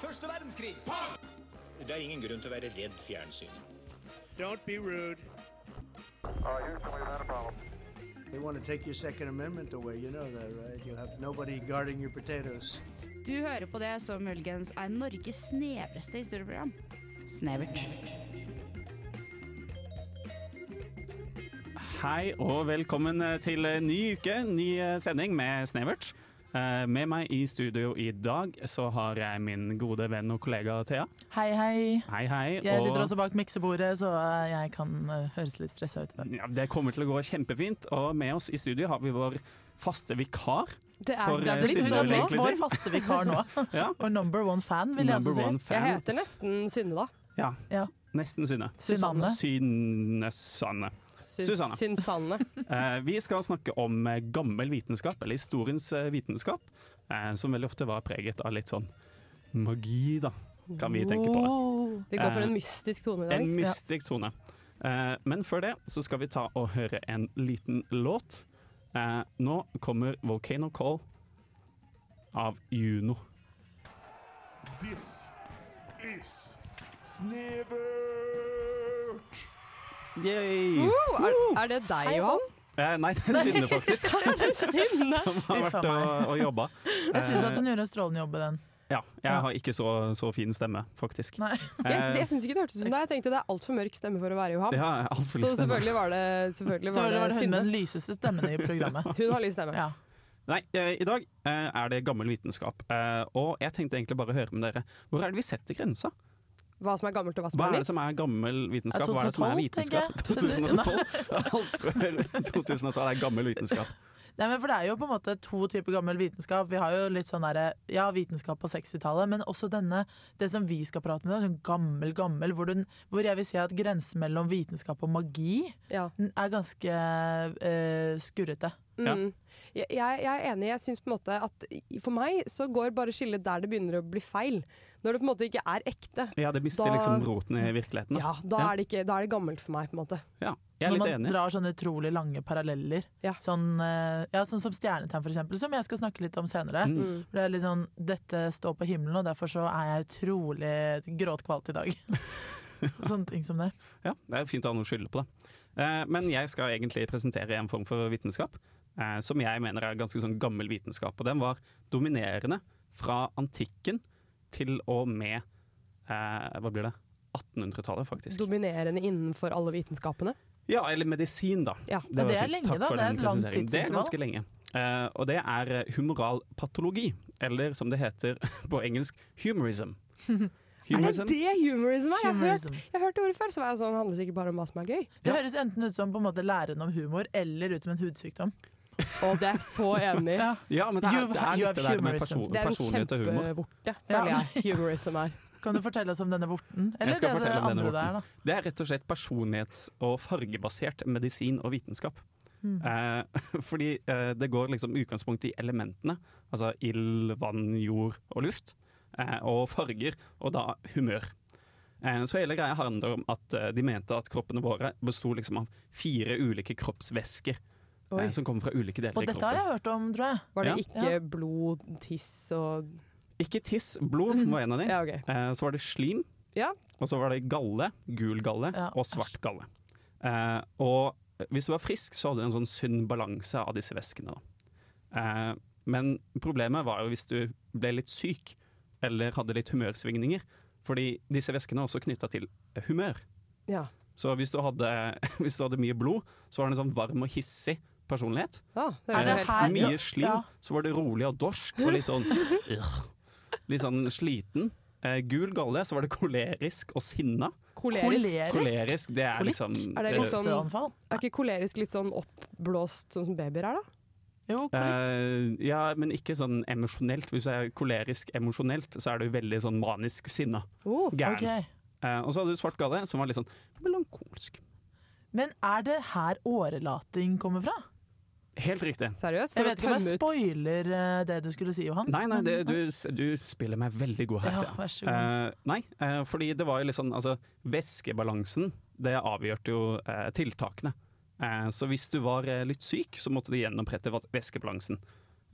Første verdenskrig. Det er ingen grunn til å være redd fjernsyn. Don't be rude. Uh, Houston, we've had a problem. They want to take your Second Amendment away. You know that, right? You have nobody guarding your potatoes. Du hører på det som muligens er Norges snevreste historieprogram. Snevert. Hei og velkommen eh, til ny uke, ny eh, sending med Snevert. Eh, Med meg i studio i dag så har jeg min gode venn og kollega Thea. Hei, hei. Hei, hei. Jeg og- sitter også bak miksebordet, så eh, jeg kan eh, høres litt stressa ut i dag. ja, Det kommer til å gå kjempefint. Og med oss i studio har vi vår faste vikar. Det er, For, det eh, er blitt Hun Synnøve har Sunniva nå. blitt egentlig vår sin. faste vikar nå. Ja. Og number one fan, vil jeg Number også one si. fan. Jeg heter nesten Synne, da. Ja, Ja. nesten Synne. Susanne. Synne-Sanne. Syn- Susanne. Synsanne. Eh, Vi skal snakke om eh, gammel vitenskap, eller historiens eh, vitenskap, eh, som veldig ofte var preget av litt sånn magi, da, kan vi tenke på det. Oh. Vi går for Eh, en mystisk tone i dag. En mystisk tone. Eh, men før det så skal vi ta og høre en liten låt. Eh, nå kommer 'Volcano Call' av Juno. This is Snevert! Yay! Oh, er, er det deg, Johan? Eh, nei, det er Synne faktisk Er det Synne? som har Uff a vært og, og jobba. Jeg syns at hun gjør en strålende jobb i den. Ja, jeg Ja. har ikke så, så fin stemme, faktisk. Nei. Jeg, Eh, jeg syns ikke det hørtes ut som deg. Jeg tenkte det er altfor mørk stemme for å være Johan. ja, altfor Så lyst stemme. selvfølgelig var det, selvfølgelig Så var var det det hun med Synne. den lyseste stemmen i programmet. Hun har lys stemme. Ja. Nei, eh, i dag eh, er det gammel vitenskap. Eh, og jeg tenkte egentlig bare å høre med dere. Hvor er det vi setter grensa? Hva som er gammelt og hva som Hva er er det nytt. som er gammel vitenskap? Hva er det som er 2012, vitenskap? tenker 2012? Alt før 2012 er gammel vitenskap. Nei, men for Det er jo på en måte to typer gammel vitenskap. Vi har jo litt sånn derre Ja, vitenskap på 60-tallet, men også denne Det som vi skal prate med, det er sånn gammel, gammel, hvor, den, hvor jeg vil si at grensen mellom vitenskap og magi Ja. den er ganske eh, skurrete. Ja. Mm. Jeg, jeg jeg er enig. Jeg synes på en måte at i- For meg så går bare skillet der det begynner å bli feil. Når det på en måte ikke er ekte. Ja, det mister Da- liksom roten i virkeligheten. Ja, da, Da. Er det ikke, da er det gammelt for meg, på en måte. Ja, jeg er litt Når man enig. drar sånne utrolig lange paralleller. Ja. Sånn, eh, ja, sånn som stjernetegn, for eksempel, som jeg skal snakke litt om senere. Mm. Mm. For Det er litt sånn, Dette står på himmelen, og derfor så er jeg utrolig gråtkvalt i dag. Sånne ting som det. Ja, det er fint å ha noe å skylde på, da. Eh, Men jeg skal egentlig presentere en form for vitenskap eh, som jeg mener er ganske sånn gammel vitenskap. Og den var dominerende fra antikken til og med eh, Hva blir det? 1800-tallet, faktisk. Dominerende innenfor alle vitenskapene. Ja, eller medisin, da. Ja, var det er fint. lenge, Takk da. for Det er den et langt presiseringen. Det er tidsintervall. ganske lenge. Eh, og det er eh, humoral patologi, eller som det heter på engelsk, humorism. Er det det humorism er? Jeg har hørt- Humorism. Jeg hørte ordet før, så var jeg sånn, handler sikkert bare om hva som er gøy. liksom- Det høres enten ut som på en måte læren om humor, eller ut som en hudsykdom. Og det er jeg så enig i. Ja. Ja, men det er, You- det er you litt have det der med humorism. perso Det er en personlighet og humor. kjempevorte, føler Ja. jeg. Humorism er. Kan du fortelle oss om denne vorten? Eller Jeg skal det er det fortelle om denne andre vorten. der, da? Det er rett og slett personlighets- og fargebasert medisin og vitenskap. Mm. Eh, fordi eh, det går liksom utgangspunkt i elementene, altså ild, vann, jord og luft. Eh, og farger, og da humør. Eh, så hele greia handler om at eh, de mente at kroppene våre besto liksom av fire ulike kroppsvæsker Oi. eh, som kommer fra ulike deler Og i dette har kroppen. jeg hørt om, tror jeg. Var det Ja. ikke Ja. blod, tiss og Ikke tiss, blod Mhm. var en av de. Ja, OK. Eh, så var det slim, Ja. Og så var det galle, gul galle Ja, og svart galle. Eh, og hvis du var frisk, så hadde du en sånn sunn balanse av disse væskene. Da. Eh, men problemet var jo hvis du ble litt syk eller hadde litt humørsvingninger. Fordi disse væskene er også knytta til humør. ja. Så hvis du, hadde, hvis du hadde mye blod, så var det en sånn varm og hissig personlighet. Ah, det Er høres det jo Eh, helt her- mye slim, Ja. så var det rolig og dorsk og litt sånn «Ugh». Litt sånn sliten. Eh, gul galle, så var det kolerisk og sinna. kolerisk. Kolerisk, det er Kolikk? liksom Er det eh, liksom- Hosteanfall? Er ikke kolerisk litt sånn oppblåst, sånn som babyer er, da? Jo, kolikk. eh, ja, men ikke sånn emosjonelt. Hvis du er kolerisk emosjonelt, så er du veldig sånn manisk sinna. Oh. Gæren. Ok. Eh, og så hadde du svart galle, som var litt sånn melankolsk. Men er det her årelating kommer fra? Helt riktig. Seriøst? For å Jeg vet ikke om tømme jeg ut spoiler eh, det du skulle si, Johan. eh, Nei, nei, det, du, du spiller meg veldig god her. Ja, Thea. vær så god. Eh, nei, eh, fordi det var jo litt sånn altså, Væskebalansen, det avgjørte jo eh, tiltakene. Eh, så hvis du var eh, litt syk, så måtte du gjenopprette va- væskebalansen.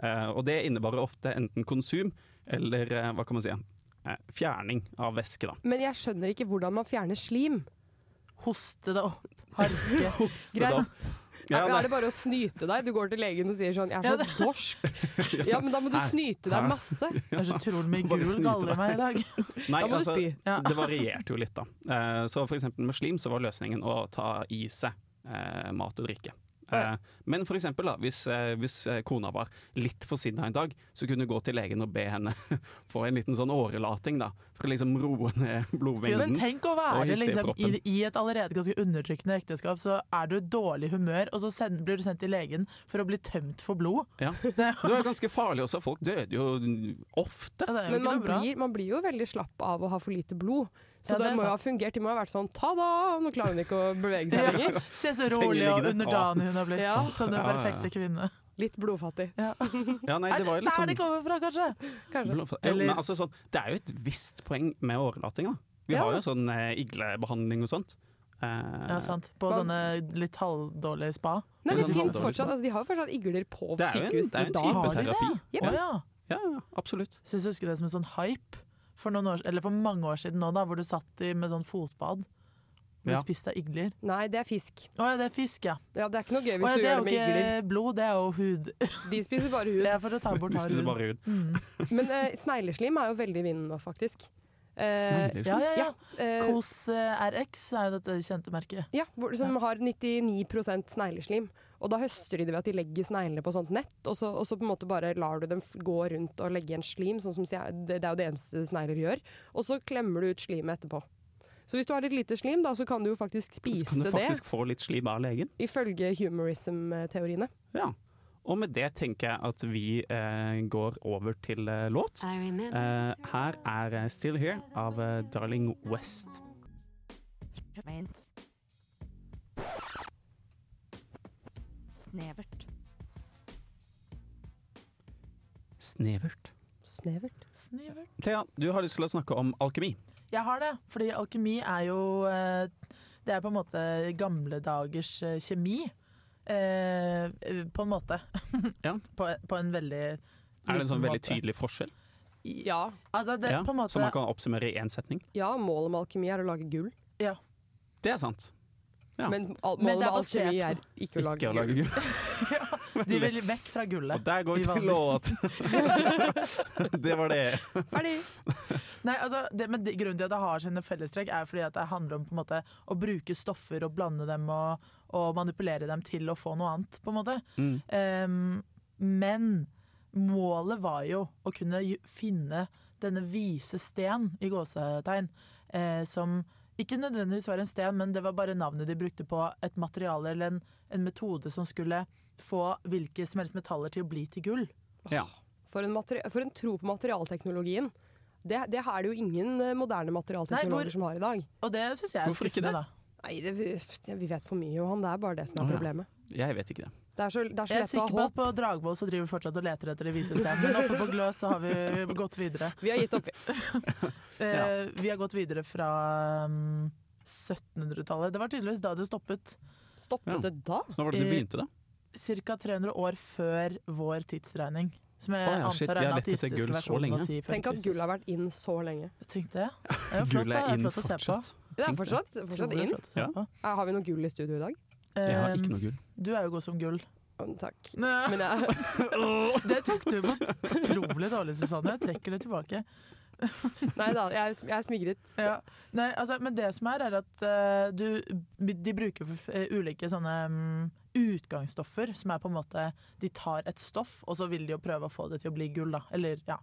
Eh, og det innebar ofte enten konsum Eller eh, hva kan man si? eh, Fjerning av væske, da. Men jeg skjønner ikke hvordan man fjerner slim. Hoste det opp. Harke. Hoste det Greit. opp. Ja, er, nei. er det bare å snyte deg? Du går til legen og sier sånn 'jeg Ja, er det- så dorsk'. Ja, men da må du Hæ? snyte Hæ? deg masse. Det er så utrolig mye Bare gul snyte galle i deg. meg i dag. Nei, Da må du altså, spy. Ja. det varierte jo litt, da. Eh, Så for eksempel med slim så var løsningen å ta i seg eh, mat og drikke. Ja. Eh, Men for eksempel, da, hvis, eh, hvis eh, kona var litt forsinna en dag, så kunne du gå til legen og be henne få en liten sånn årelating, da. For å liksom roe ned Men blodvengden. tenk å Og være hisse i liksom, i, proppen. i et allerede ganske undertrykkende ekteskap, så er du i dårlig humør, og så send, blir du sendt til legen for å bli tømt for blod. Ja. Det, Det var ganske farlig også, folk døde jo ofte. Ja, det er jo Men ikke man noe bra. blir, man blir jo veldig slapp av å ha for lite blod. Så Ja, det det, er må jo ha sant. fungert. De må ha vært sånn 'ta da, nå klarer hun ikke å bevege seg Ja. lenger'. Se så rolig og Sengeliggende. underdanig hun har blitt, Ja. som den Ja, ja, ja. perfekte kvinne. Litt blodfattig, Ja. Ja, nei, det Er det var jo liksom der det kommer fra, kanskje? kanskje. Blå- Jo, Eller- men altså, sånn, det er jo et visst poeng med årelating. Da. Vi Ja. har jo sånn eh, iglebehandling og sånt. Eh, Ja, sant. På Hva- sånne litt halvdårlige spa. Nei, det Sånn finnes halvdårlig fortsatt. smak. Altså, de har jo fortsatt igler på det er jo en, sykehus det er i jo en dag. type Har de det? terapi. Å Jepp. ja. Ja, ja, absolutt. Så jeg husker det som en sånn hype for, noen år, eller for mange år siden nå, da, hvor du satt i, med sånn fotbad og Ja. ja. spiste av igler. Nei, det er fisk. Å ja, det er fisk, ja. Ja, det er ikke noe gøy Å, hvis ja du det er gjør det jo med igler. ikke blod, det er jo hud. De spiser bare hud. Det er for å ta bort Du hard spiser hud. bare hud. Mm. Men eh, snegleslim er jo veldig i vinden nå, faktisk. Eh, Snegler. Ja, ja, ja. ja, eh, Kos eh, RX er jo dette kjente merket. ja, hvor, som har 99 snegleslim. Og da høster de det ved at de legger sneglene på sånt nett, og så, og så på en måte bare lar du dem f- gå rundt og legge igjen slim, sånn som sne- det, det er jo det eneste snegler gjør. Og så klemmer du ut slimet etterpå. Så hvis du har litt lite slim, da, så kan du jo faktisk Så kan du spise faktisk få litt slim av legen. det, ifølge humorism-teoriene. Ja. Og med det tenker jeg at vi eh, går over til eh, låt. Eh, her er eh, 'Still Here' av eh, Darling West. Snevert. Snevert. Snevert. Snivert. Thea, du har lyst til å snakke om alkemi. Jeg har det, fordi alkemi er jo eh, Det er på en måte gamle dagers eh, kjemi. Eh, på en måte. Ja. på, på en veldig Er det en sånn liten veldig måte. tydelig forskjell Ja. Altså, det, Ja, på en måte, som man kan oppsummere i én setning? ja, målet med alkemi er å lage gull. Det er sant. Ja. Men al- Men målet det er med alkemi basert er ikke å lage gull. gull. De vil vekk fra Og gullet. der går vi I til låt. det var det. Ferdig! Nei, altså, det, men det, grunnen til at det har sine fellestrekk, er fordi at det handler om på en måte, å bruke stoffer og blande dem og, og manipulere dem til å få noe annet, på en måte. Mm. Ehm, men målet var jo å kunne ju- finne denne vise sten, i gåsetegn, eh, som ikke nødvendigvis var en sten, men det var bare navnet de brukte på et materiale eller en, en metode som skulle få hvilke som helst metaller til å bli til gull. Ja. For en, materi for en tro på materialteknologien. Det, det er det jo ingen eh, moderne Nei, materialteknologer hvor- som har i dag. Og det syns jeg er Hvorfor ikke skuffende, det? da. Nei, det, vi- vi vet for mye, Johan. Det er bare det som er Å, ja. problemet. Jeg vet ikke det. Det er så, det er så Jeg er lett å sikker på ha at håp. på Dragvoll så driver vi fortsatt og leter etter det vise sted, men oppe på Gløs så har vi gått videre. Vi har gitt opp. Eh, Ja. Vi har gått videre fra um, 1700-tallet. Det var tydeligvis da det stoppet. Stoppet Ja. det da? Når var det du Eh, begynte, da? Ca. 300 år før vår tidsregning. Som jeg Å ja, shit, antar vi er har den lett etter gull ateistiske så versjonen lenge. å si før Tenk at Kristus. gull har vært inn så lenge. Tenk det. Det er jo flott, da. Det Det er er flott å se på. Tenk fortsatt, det. fortsatt Utrolig inn. flott å se Ja. på. Eh, Har vi noe gull i studio i dag? Jeg har ikke Um, noe gull. Du er jo god som gull. Å, Takk. Det Men jeg, tok du på utrolig dårlig, Susanne. Jeg trekker det tilbake. nei da, jeg, er sm- jeg er smigret. Ja. Nei, altså, men det som er, er at eh, du, de bruker for, eh, ulike sånne mm, utgangsstoffer, som er på en måte De tar et stoff, og så vil de jo prøve å få det til å bli gull, da. Eller, ja.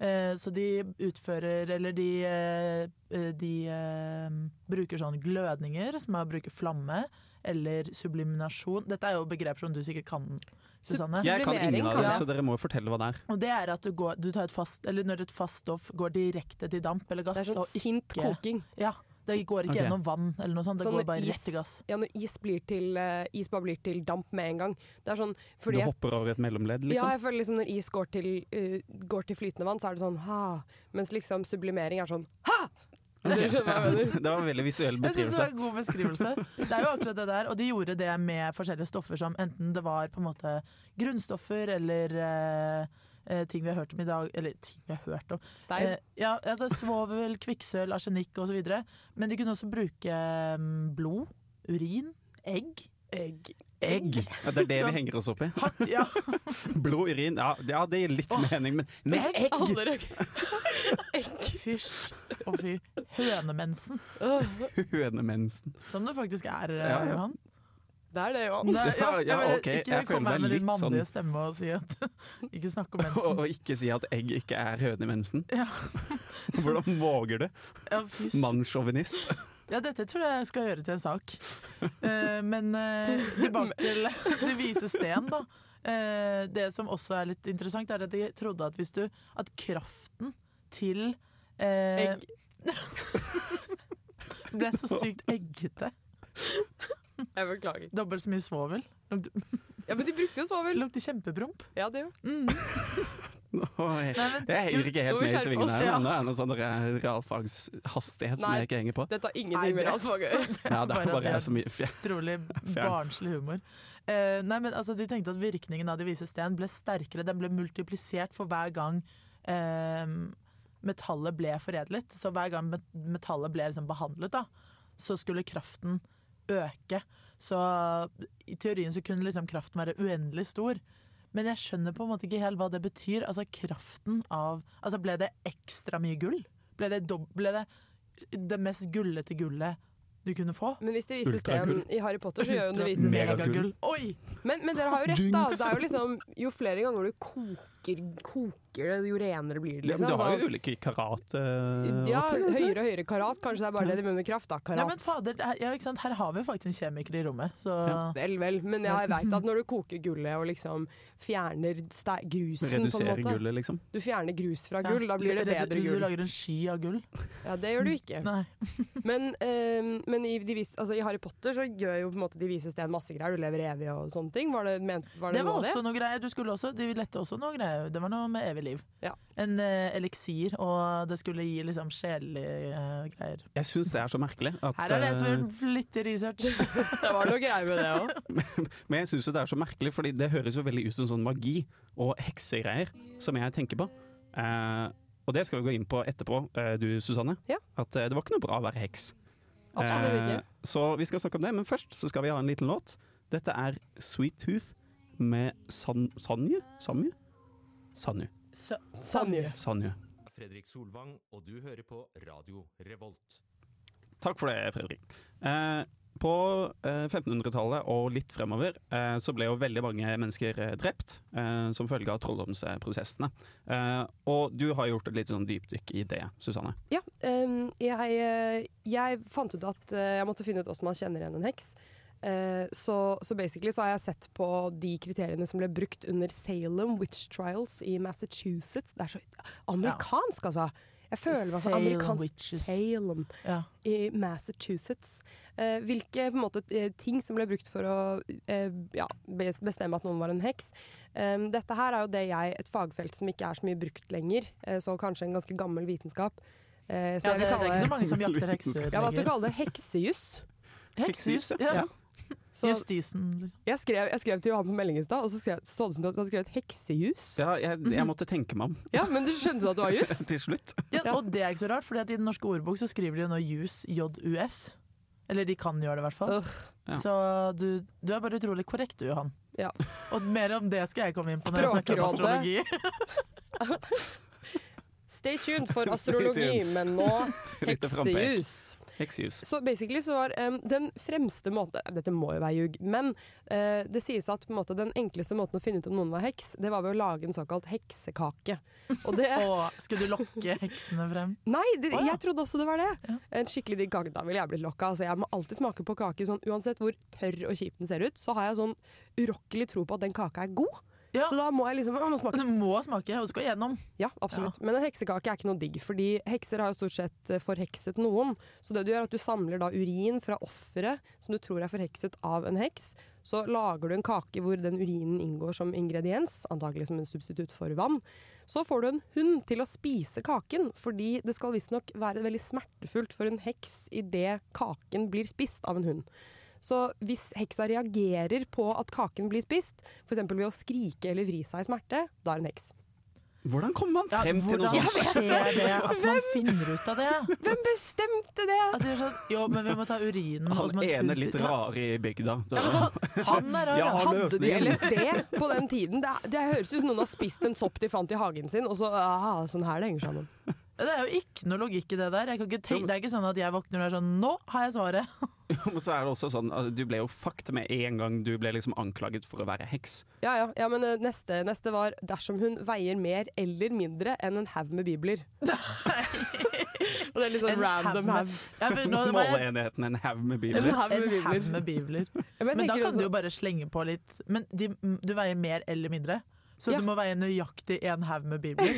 Eh, så de utfører, eller de eh, eh, De eh, bruker sånne glødninger, som er å bruke flamme, eller subliminasjon. Dette er jo begrep som du sikkert kan, Susanne. Sub- Jeg kan sublimering ingen av kan det, jeg. så dere må jo fortelle hva det er. Og det er at du går, du tar et fast, eller når et fast stoff går direkte til damp eller gass. Det er Altså, sånn og ikke- sint koking. ja, det går Ok. ikke gjennom vann eller noe sånt, det Sånn går bare is. rett til gass. Ja, når is, blir til, eh, is bare blir til damp med en gang. Det er sånn Du fordi jeg hopper over et mellomledd, liksom. Ja, jeg føler liksom når is går til, eh, går til flytende vann, så er det sånn ha. Mens liksom sublimering er sånn ha! Hvis du skjønner hva jeg mener. Det var en veldig visuell Jeg synes det beskrivelse. var en god beskrivelse. Det er jo akkurat det der, og de gjorde det med forskjellige stoffer som enten det var på en måte grunnstoffer eller eh, eh, ting vi har hørt om i dag Eller ting vi har hørt om. Stein. Eh, ja, altså Svovel, kvikksølv, arsenikk osv. Men de kunne også bruke mm, blod, urin, egg. Egg. Egg! Ja, Det er det vi henger oss opp i. Ja. Blod, urin Ja, ja det gir litt mening, men, men egg! Alle røk. Egg. Fysj og fy. Hønemensen, Hønemensen. som det faktisk er, ja. eh, Johan. Det er det, jo. Nei, ja, Ja, jeg ja, bare, ok, ikke jeg føler kom her meg med din litt sånn- mannlige stemme og si at Ikke snakk om mensen. Og og ikke si at egg ikke er hønemensen. Ja. Hvordan våger du? Ja, fysj. Mannssjåvinist. Ja, dette tror jeg jeg skal gjøre til en sak. Eh, men eh, tilbake til det vise sten, da. Eh, det som også er litt interessant, er at jeg trodde at hvis du At kraften til eh, Egg. ble så sykt eggete. Jeg beklager. Dobbelt så mye svovel. Lukter Ja, men de brukte jo svovel. lukter kjempepromp. Ja, det jo. Mm. Oi, Nei, men- Jeg henger ikke Nå helt må vi med i skjerpe svingene oss, her. ja. men Det er noe sånn der realfagshastighet som Nei. jeg ikke henger på. Dette har Nei, ingenting med det- realfag å gjøre. Ja, det er bare at bare jeg- jeg som gir- utrolig barnslig humor. Eh, nei, men altså, De tenkte at virkningen av De vise sten ble sterkere. Den ble multiplisert for hver gang eh, metallet ble foredlet. Så hver gang met- metallet ble liksom behandlet, da, så skulle kraften øke. Så i teorien så kunne liksom kraften være uendelig stor. Men jeg skjønner på en måte ikke helt hva det betyr. Altså kraften av Altså Ble det ekstra mye gull? Ble det, dob ble det det mest gullete gullet du kunne få? Men hvis de viser Ultragull. sten i Harry Potter, så gjør jo det vises Megagull. sten. Megagull. Oi! Men, men dere har jo rett, da. Jinx. Det er jo liksom Jo flere ganger du koker, koker det, jo renere blir det, Ja, men liksom. du har jo Så- ulike karat... ja, høyere og høyere karat. Kanskje det er bare det de mener med kraft, da. Nei, men Karat. fader, det er- ja, ikke sant? Her har vi faktisk en kjemiker i rommet, så Vel, vel. Men jeg veit at når du koker gullet og liksom fjerner ste grusen, sånn på Redusere en måte gullet, liksom. Du fjerner grus fra Ja. gull, da blir det Eller bedre du, Du gull. lager en sky av gull. Ja, det gjør du ikke. Nei. Men, eh, men i, de vis, altså, i Harry Potter så gjør jo på en måte de vises sten masse greier. Du lever evig og sånne ting. Var det, ment, var det, Det var noe av det? også noe greier. Du skulle også, de lette også noe greier. Det var noe med evig liv. Ja. En eh, eliksir, og det skulle gi liksom sjelelige eh, greier. Jeg syns det er så merkelig at Her er det en som har eh, gjort flittig research. Det var noe greier med det òg. Men jeg syns det er så merkelig, fordi det høres jo veldig ut som sånn magi og heksegreier som jeg tenker på. Eh, og det skal vi gå inn på etterpå, eh, du Susanne. Ja. At eh, det var ikke noe bra å være heks. Absolutt ikke. Eh, så vi skal snakke om det, men først så skal vi ha en liten låt. Dette er Sweet Tooth med San Sanju? Samju? Sanju. Så, Sanje. Sanju. Fredrik Solvang, og du hører på Radio Revolt. Takk for det, Fredrik. Eh, på eh, 1500-tallet og litt fremover eh, så ble jo veldig mange mennesker eh, drept eh, som følge av trolldomsprosessene. Eh, og du har gjort et litt sånn dypdykk i det, Susanne. Ja, ehm, jeg, eh, jeg fant ut at eh, jeg måtte finne ut hvordan man kjenner igjen en heks. Eh, så, så basically så har jeg sett på de kriteriene som ble brukt under Salem Witch Trials i Massachusetts. Det er så amerikansk, altså! Jeg føler meg så Salem amerikansk. witches. Salem ja. i Massachusetts. Eh, hvilke på en måte, eh, ting som ble brukt for å eh, ja, bes- bestemme at noen var en heks. Em, dette her er jo det jeg, et fagfelt som ikke er så mye brukt lenger, eh, så kanskje en ganske gammel vitenskap. eh, som ja, jeg det, det vil er ikke så kalle, mange som jakter hekser. jeg valgte å lenger. kalle det heksejus. Heksejus, Ja. ja. Så Justisen, liksom. jeg skrev, jeg skrev til Johan på melding i stad, og så skrev, så det som du hadde skrevet heksejus. Ja. Ja, jeg, jeg måtte tenke meg om men du skjønte at det var jus? til slutt. Ja, og det er ikke så rart, for i den norske ordbok så skriver de jo nå jus, JUS. Eller de kan gjøre det, i hvert fall. Øh, Ja. Så du, du er bare utrolig korrekt, du, Johan. Ja. Og mer om det skal jeg komme inn på når jeg snakker om Språkrådet. astrologi. stay tuned for Stay astrologi, tuned. men nå Litt frampek. heksejus. Heksejus. Så basically så var em, den fremste måten Dette må jo være ljug, men eh, det sies at på en måte, den enkleste måten å finne ut om noen var heks, det var ved å lage en såkalt heksekake. Og det Og skulle du lokke heksene frem? Nei, det, Å, ja. jeg trodde også det var det! Ja. En skikkelig digg kake. Da ville jeg blitt lokka. Altså, jeg må alltid smake på kake sånn, uansett hvor tørr og kjip den ser ut. Så har jeg sånn urokkelig tro på at den kaka er god. Ja. Så da må jeg liksom jeg må smake Du må smake, og du skal gjennom. Ja, absolutt. Men en heksekake er ikke noe digg, fordi hekser har jo stort sett eh, forhekset noen. Så det du gjør er at du samler da urin fra offeret som du tror er forhekset av en heks. Så lager du en kake hvor den urinen inngår som ingrediens, antakelig som en substitutt for vann. Så får du en hund til å spise kaken, fordi det skal visstnok være veldig smertefullt for en heks idet kaken blir spist av en hund. Så hvis heksa reagerer på at kaken blir spist, f.eks. ved å skrike eller vri seg i smerte, da er hun heks. Hvordan kommer man Ja, frem til noe hvordan sånt? skjer det at man finner ut av det? Hvem bestemte det?! At det er sånn, jo, men vi må ta urinen og så Han må et ene hus- litt rare i bygda. Ja, men sånn, han er rar. Jeg har han. Hadde de løsningen. LSD på den tiden? Det, er- det høres ut som noen har spist en sopp de fant i hagen sin, og så ah, sånn her det henger sammen. Det er jo ikke noe logikk i det der. Jeg kan ikke tenke, det er ikke sånn at jeg våkner og er sånn Nå har jeg svaret! Men så er det også sånn altså, Du ble jo fucked med en gang du ble liksom anklaget for å være heks. Ja, ja, ja, men eh, neste, neste var dersom hun veier mer eller mindre enn en haug med bibler. og det er litt sånn En random haug haug. med- Ja, men nå må jeg- Måleenheten en haug med En biler. haug med En haug bibler. med bibler. Ja, Men, Men jeg da tenker kan du også, jo bare slenge på litt. Men de, du veier mer eller mindre, så Ja. du må veie nøyaktig en haug med bibler.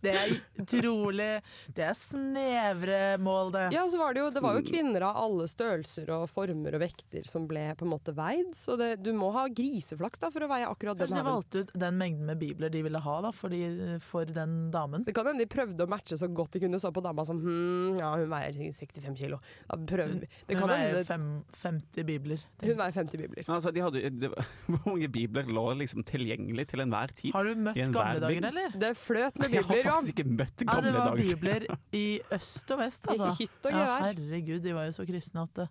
Det er utrolig Det er snevre mål, det. ja, så var det, jo, det Mm. var jo kvinner av alle størrelser og former og vekter som ble på en måte veid, så det, du må ha griseflaks da for å veie akkurat den Kanskje de haugen. valgte ut den mengden med bibler de ville ha da, for, de, for den damen. Det kan hende de prøvde å matche så godt de kunne, så på dama som hm, ja, hun veier sikkert 65 kilo. Da prøver vi. Det Hun kan veier hende fem, 50 bibler. hun veier 50 bibler. Altså, de hadde, det, var- hvor mange bibler lå liksom tilgjengelig til enhver tid? Har du møtt I en gamle hver dager, by. eller? Det fløt med Jeg har bibler, ja. faktisk ikke møtt Ja, det gamle var dager. bibler i øst og vest, Gikk i altså. hytt og ja, gevær. herregud, de var jo så kristne at det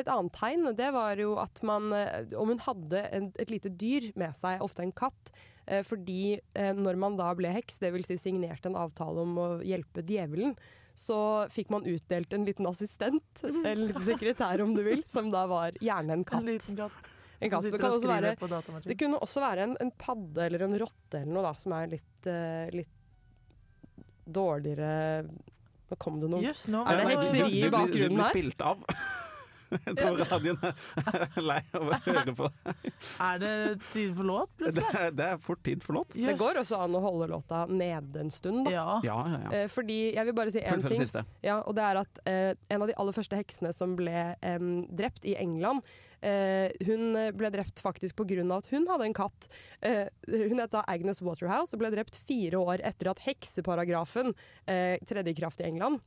Et annet tegn det var jo at man, eh, om hun hadde en, et lite dyr med seg, ofte en katt, eh, fordi eh, når man da ble heks, dvs. Si signerte en avtale om å hjelpe djevelen, så fikk man utdelt en liten assistent, en liten sekretær om du vil, som da var gjerne en En katt. liten katt En katt. Det som sitter kan og også skriver være på Det datamaskin. kunne også være en, en padde eller en rotte eller noe da, som er litt, eh, litt dårligere Nå kom det noe. Jøss, nå Er det var hekseri i Du blir- bakgrunnen Du blir her? spilt av. Jeg tror radioen er lei av å høre på. Er det tid for låt, Det plutselig? er, det er fort tid for låt. Det Jøss. går også an å holde låta nede en stund. Da. Ja. Ja, ja, ja. Eh, fordi jeg vil bare si Eh, én Fullfør ting. siste. Ja, og det er at eh, En av de aller første heksene som ble em, drept i England eh, Hun ble drept faktisk pga. at hun hadde en katt. Eh, hun het da Agnes Waterhouse og ble drept fire år etter at hekseparagrafen eh, tredde i kraft i England.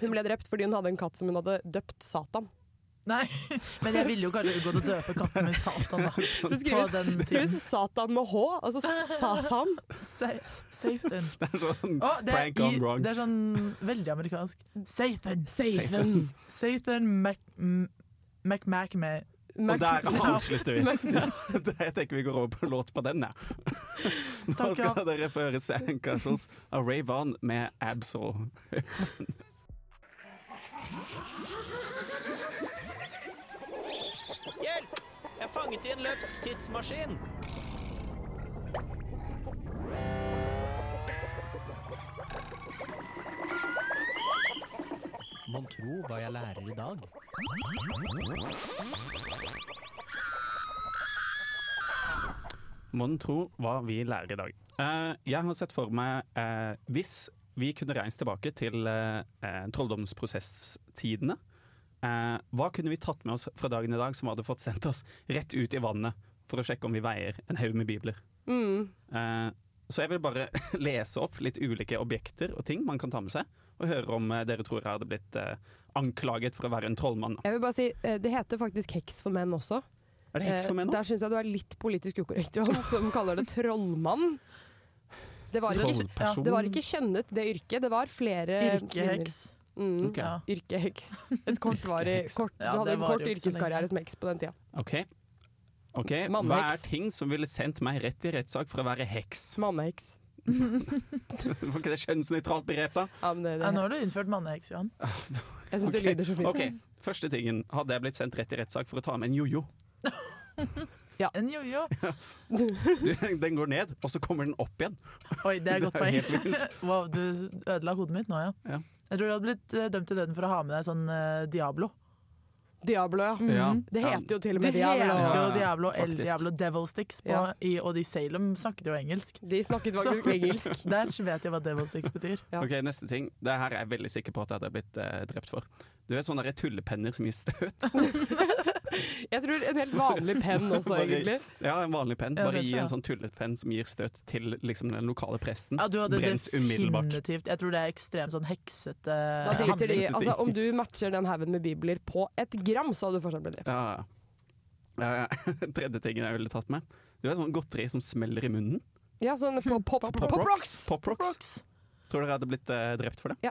Hun ble drept fordi hun hadde en katt som hun hadde døpt Satan. Nei, men jeg ville jo kanskje unngått å døpe katten min Satan, da. Det På skrives, den tiden. skrives Satan med H, altså s- Satan. Sa- Satan. Det er sånn Å, det, er prank gone i- wrong. det er sånn veldig amerikansk. Sathan. Satan. Sathan Mac... M- McMac med Og der Mac- avslutter vi. Jeg tenker vi går over på låt på den, jeg. Nå Takk, skal ja. dere få høre Sandcastles av Ray Vaughan med Absol. Hjelp! Jeg er fanget i en løpsk tidsmaskin. Mon tro hva jeg lærer i dag? Mon tro hva vi lærer i dag. Eh, jeg har sett for meg eh, Hvis vi kunne reist tilbake til eh, eh, trolldomsprosesstidene, eh, hva kunne vi tatt med oss fra dagen i dag som hadde fått sendt oss rett ut i vannet for å sjekke om vi veier en haug med bibler? Mm. Eh, Så jeg vil bare lese opp litt ulike objekter og ting man kan ta med seg, og høre om eh, dere tror jeg hadde blitt eh, anklaget for å være en trollmann. Jeg vil bare si, eh, Det heter faktisk heks for menn også. Er det heks for meg Eh, nå? Der syns jeg du er litt politisk ukorrekt, Johan, som kaller det trollmann. Det var, ikke, Trollperson? det var ikke kjønnet, det yrket. Det var flere Yrkeheks. Eh, kvinner. Mm. Ok. Ja. Yrkeheks. Et kortvarig Yrkeheks. kort, Du Ja, hadde det en var kort jo ikke så yrkeskarriere lenge. som heks på den tida. Ok. Ok, Hva Mannheks. er ting som ville sendt meg rett i rettssak for å være heks? Manneheks. Var ikke det kjønnsnøytralt begrep, da? Ja, men det, Ja, det, nå har du innført manneheks, Johan. jeg syns det Ok. lyder så fint. Ok, Første tingen. Hadde jeg blitt sendt rett i rettssak for å ta med en jojo? En jojo. Du, Den går ned, og så kommer den opp igjen. Oi, det er Det godt er poeng. helt vilt. Wow, du ødela hodet mitt nå, ja. Ja. Jeg tror du hadde blitt eh, dømt til døden for å ha med deg sånn eh, Diablo. Diablo, ja. Mm, Det heter jo til og Det med Diablo. heter jo Ja, Diablo El faktisk. Diablo Devil Sticks, på, Ja. i, og de i Salem snakket jo engelsk. De snakket faktisk Så- engelsk. Der vet jeg hva Devil Sticks betyr. Ja. Ok, Neste ting. Det her er jeg veldig sikker på at jeg hadde blitt eh, drept for. Du vet sånne der tullepenner som gir støt? Jeg tror en helt vanlig penn også, Bare- egentlig. Ja, en vanlig penn. Ja, Bare det tror gi en jeg. sånn tullet penn som gir støt til liksom, den lokale presten. Ja, du hadde Brent umiddelbart. definitivt Jeg tror det er ekstremt sånn heksete Da driter de, handling. altså, om du matcher den haugen med bibler på et gram, så hadde du fortsatt blitt drept. Ja, ja. Eh, tredje tingen jeg ville tatt med. Du vet sånn godteri som smeller i munnen? Ja, sånn på pop, Pop pop rocks. rocks. Pop rocks. Rocks. Tror dere jeg hadde blitt eh, drept for det? Ja.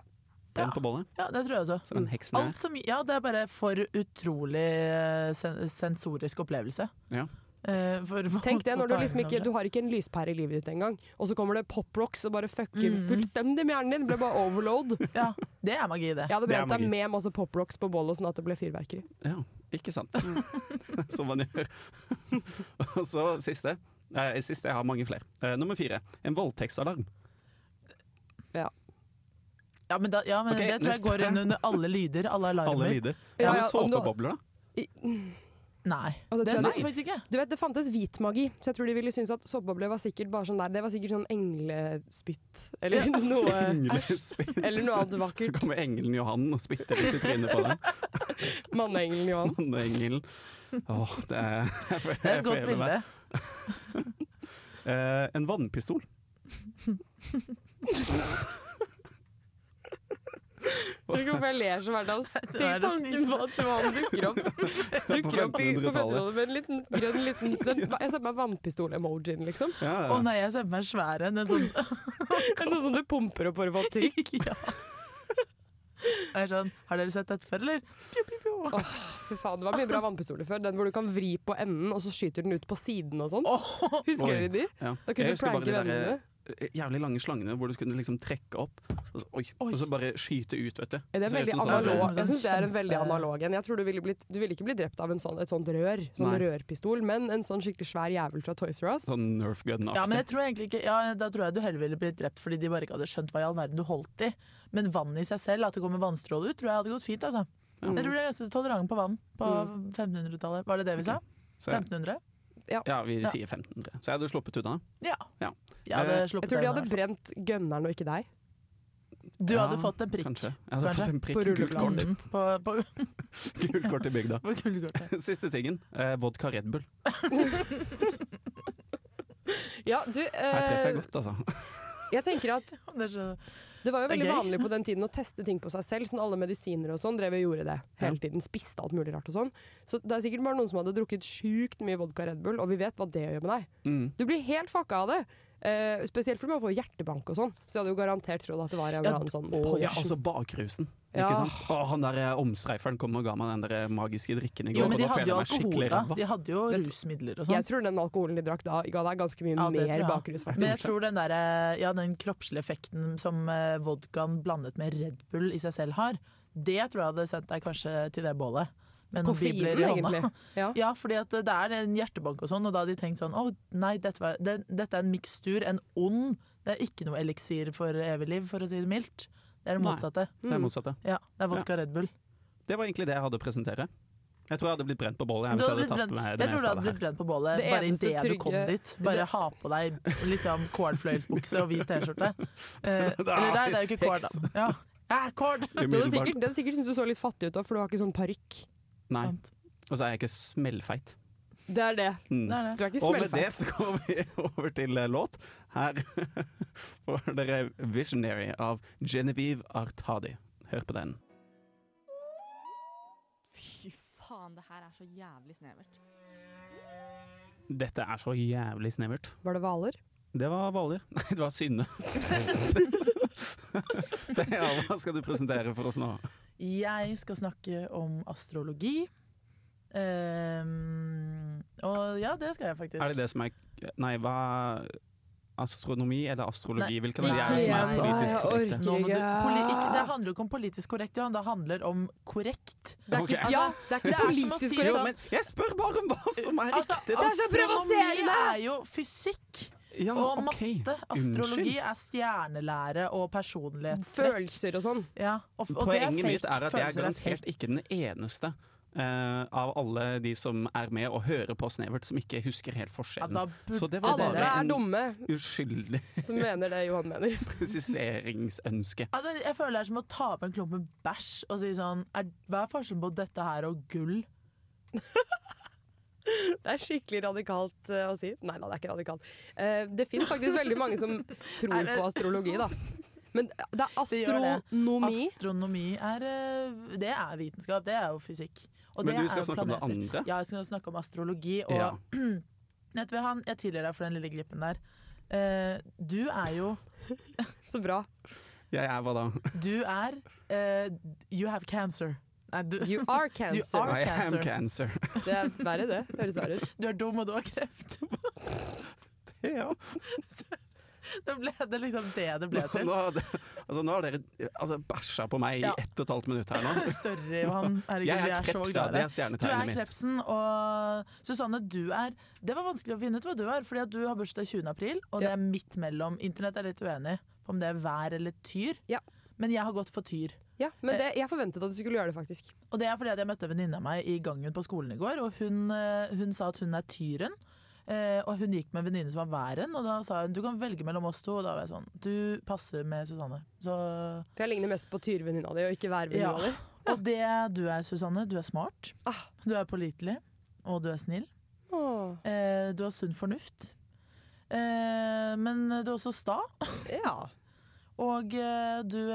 Den Ja. på bollet, Ja, det tror jeg også. Sånn som en heks den Alt som, ja, det er bare for utrolig eh, sen sensorisk opplevelse. Ja. Eh, for- for- Tenk det, når du for- liksom ikke Du har ikke en lyspære i livet ditt engang, og så kommer det pop rocks og bare fucker fullstendig med hjernen din. Det ble bare overload. sånn. Ja, det er magi, det. Jeg hadde Det er brent deg magi. med masse pop rocks på bollet, sånn at det ble fyrverkeri. er. Ja, ikke sant. som man gjør. Og så siste. Eh, siste, Jeg har mange flere. Eh, nummer fire. En voldtektsalarm. Ja, men, da, ja, men Ok, det tror jeg neste. går inn under alle lyder, alle alarmer. Alle lyder. Ja, Ja, men ja, om du- såpebobler, da? Nei, Og det tror jeg det, tror de- jeg faktisk ikke. Du vet, Det fantes hvitmagi, så jeg tror de ville synes at såpebobler var sikkert bare sånn der Det var sikkert sånn englespytt eller noe Englespitt. Eller noe annet Så vakkert. kommer engelen Johan og spytter litt i trynet på deg. Manneengelen Johan. Manneengelen. Åh, det er Det er et godt bilde. Eh, en vannpistol. Du kan bare ler så hvert dag. Det er Tenk det tanken på at Johan dukker opp Dukker opp i, på 1500-tallet. 1500-tallet med en liten grønn liten den, Jeg ser på meg vannpistol-emojien, liksom. Ja, Å ja. nei, jeg ser på meg svær en. En sånn, Det er noe som du pumper opp for å få trykk. ja. Jeg er sånn Har dere sett dette før, eller? Pju, pju, pju. Åh, fy faen, Det var mye bra vannpistoler før. Den hvor du kan vri på enden, og så skyter den ut på siden og sånn. Åh, Husker Oi. dere de? Ja. Da kunne Jeg du husker bare pranke de der, vennene. eh, Jævlig lange slangene hvor du kunne liksom trekke opp og så, oi, og så bare skyte ut, vet du. Ja, Det er Så veldig ut som sånn- analog. sånn Jeg synes det er en veldig kjempe- analog en. Jeg tror du ville, blitt, du ville ikke blitt drept av en sånn, et sånt rør, sånn Nei. rørpistol, men en sånn skikkelig svær jævel fra Toys R Us. Sånn Nerf Gun-aktig. Ja, men jeg tror egentlig ikke ja, Da tror jeg du heller ville blitt drept fordi de bare ikke hadde skjønt hva i all verden du holdt i. Men vann i seg selv, at det kommer vannstråle ut, tror jeg hadde gått fint. altså. Jeg Mm. tror de er ganske tolerante på vann på 1500-tallet. Var det det vi sa? Så jeg- 1500? ja, vi Ja. sier 1500. Så jeg hadde sluppet unna. Ja. Ja. Jeg hadde Eh, Jeg tror sluppet de det hadde unna. brent gønneren og ikke deg. Du hadde Ja, fått en prikk. Kanskje. Jeg hadde Kanskje. fått en prikk, På gult rullebladet. kort, Mm, på, på, gult kort i bygda. på gullkortet. Siste tingen. Eh, vodka Red Bull. Ja, du, Her treffer jeg eh, godt, altså. jeg tenker at Det er så, Det var jo Det er veldig gøy. vanlig på den tiden å teste ting på seg selv. Sånn alle medisiner og sånn drev og gjorde det hele tiden. Spiste alt mulig rart og sånn. Så det er sikkert bare noen som hadde drukket sjukt mye vodka Red Bull, og vi vet hva det gjør med deg. Mm. Du blir helt fucka av det. Eh, spesielt fordi man får hjertebank og sånn. Så jeg hadde jo garantert trodd at det var en Ja, eller annen sånn Å, ja, potion. altså bakrusen. Ikke Ja. sant? Å, han der eh, omstreiferen kom og ga meg den der eh, magiske drikken i går. jo, men og da de hadde føler jo jeg meg alkohol skikkelig da. ræva. De hadde jo Vet du- rusmidler Jeg og sånn. tror den alkoholen de drakk da, ga deg ganske mye Ja, det tror mer jeg. bakrus, Men jeg faktisk. tror den, der, eh, ja, den kroppslige effekten som eh, vodkaen blandet med Red Bull i seg selv har, det tror jeg hadde sendt deg kanskje til det bålet. Med noen Koffeinen, bibler i hånda. egentlig. Ja. Ja, fordi at det er en hjertebank og sånn, og da har de tenkt sånn Å nei, dette, var, det, dette er en mikstur, en ond. Det er ikke noe eliksir for evig liv, for å si det mildt. Det er det Nei. motsatte. Det er motsatt, ja. Ja, det er vodka Red Bull. Det var egentlig det jeg hadde å presentere. Jeg tror jeg hadde blitt brent på bålet. Jeg, Du hvis jeg hadde hadde blitt tatt brent, med det jeg tror du meste av hadde det blitt her. brent på bålet Det bare eneste idet du kom trygge- dit. Bare ha på deg liksom kålfløyelsbukse og hvit T-skjorte. Eh, Det er eller nei, det er jo ikke kål, heks. da. Ja. Ja, kål! Du hadde Umiddelbart. sikkert, den sikkert syntes du så litt fattig ut da, for du har ikke sånn parykk. Nei. Sant. Og så er jeg ikke smellfeit. Det er det. Mm. Det er det. Du er ikke Og med det smellfeit. så går vi over til eh, låt. Her får dere 'Visionary' av Genevieve Artadi. Hør på den. Fy faen, det her er så jævlig snevert. Dette er så jævlig snevert. Var det hvaler? Det var Hvaler. Nei, det var Synne. Thea, hva skal du presentere for oss nå? Jeg skal snakke om astrologi. Ehm, og ja, det skal jeg faktisk. Er det det som er Nei, hva Astronomi eller astrologi? Nei, Hvilken av de ikke er det som er igjen. politisk Å, jeg korrekte? Nå må du, poli, ikke, det Kriga. handler jo ikke om politisk korrekt, Johan. Det handler om korrekt. Det er Ok. ikke, ja, det er Det ikke er som å si politisk det korrekt. Jo, men jeg spør bare om hva som er Altså, riktig! er så provoserende! Astronomi er jo fysikk Ja, og ok. matte. Astrologi er stjernelære og personlighetstrekk. Følelser og sånn. Ja, og, f- og det Poenget mitt fake. er at jeg er Følelser garantert fake. ikke den eneste eh, av alle de som er med og hører på Snevert, som ikke husker helt ja, da forskjellen. Så burde det var Alle bare er en dumme uskyldig som mener det Johan mener. presiseringsønske. Altså, jeg føler det er som å ta opp en klump med bæsj og si sånn er, Hva er forskjellen på dette her og gull? Det er skikkelig radikalt eh, å si. Nei da, det er ikke radikalt. Eh, det fins faktisk veldig mange som tror det- på astrologi, da. Men det er Det gjør det. astronomi. Astronomi er eh, Det er vitenskap. Det er jo fysikk. Og Men det du skal er jo snakke om det planeter. andre? Ja, jeg skal snakke om astrologi. Og Ja. vet du hva, han, jeg tilgir deg for den lille glippen der. eh, Du er jo Så bra. Jeg er hva da? Du er eh, You have cancer. Nei, du, You are You cancer. are- I am cancer. cancer. Det er verre, det. Høres verre ut. du er dum, og du har kreft. ja. Det, ble, det er liksom det det ble til. Nå, altså, nå har dere altså, bæsja på meg Ja. i ett og et halvt minutt her nå. Sorry, Johan. Herregud, Jeg vi er er så kreps, ja. glad Det er i deg. Du er stjernetegnet mitt. krepsen, og Susanne, du er Det var vanskelig å finne ut hva du er, fordi at du har bursdag 20. april, og det Ja. er midt mellom. Internett er litt uenig på om det er vær eller tyr, Ja. men jeg har gått for tyr. Ja, men det, jeg forventet at du skulle gjøre det, faktisk. Og det er fordi at jeg møtte en venninne av meg i gangen på skolen i går, og hun, eh, hun sa at hun er tyren. eh, Og hun gikk med en venninne som var væren, og da sa hun du kan velge mellom oss to. Og da var jeg sånn du passer med Susanne. Så, For jeg ligner mest på tyrvenninna di, og ikke værvenninna Ja. di. og det du er, Susanne, du er smart, Ah. du er pålitelig, og du er snill. Åh, Eh, Du har sunn fornuft. Eh, Men du er også sta, ja. og eh, du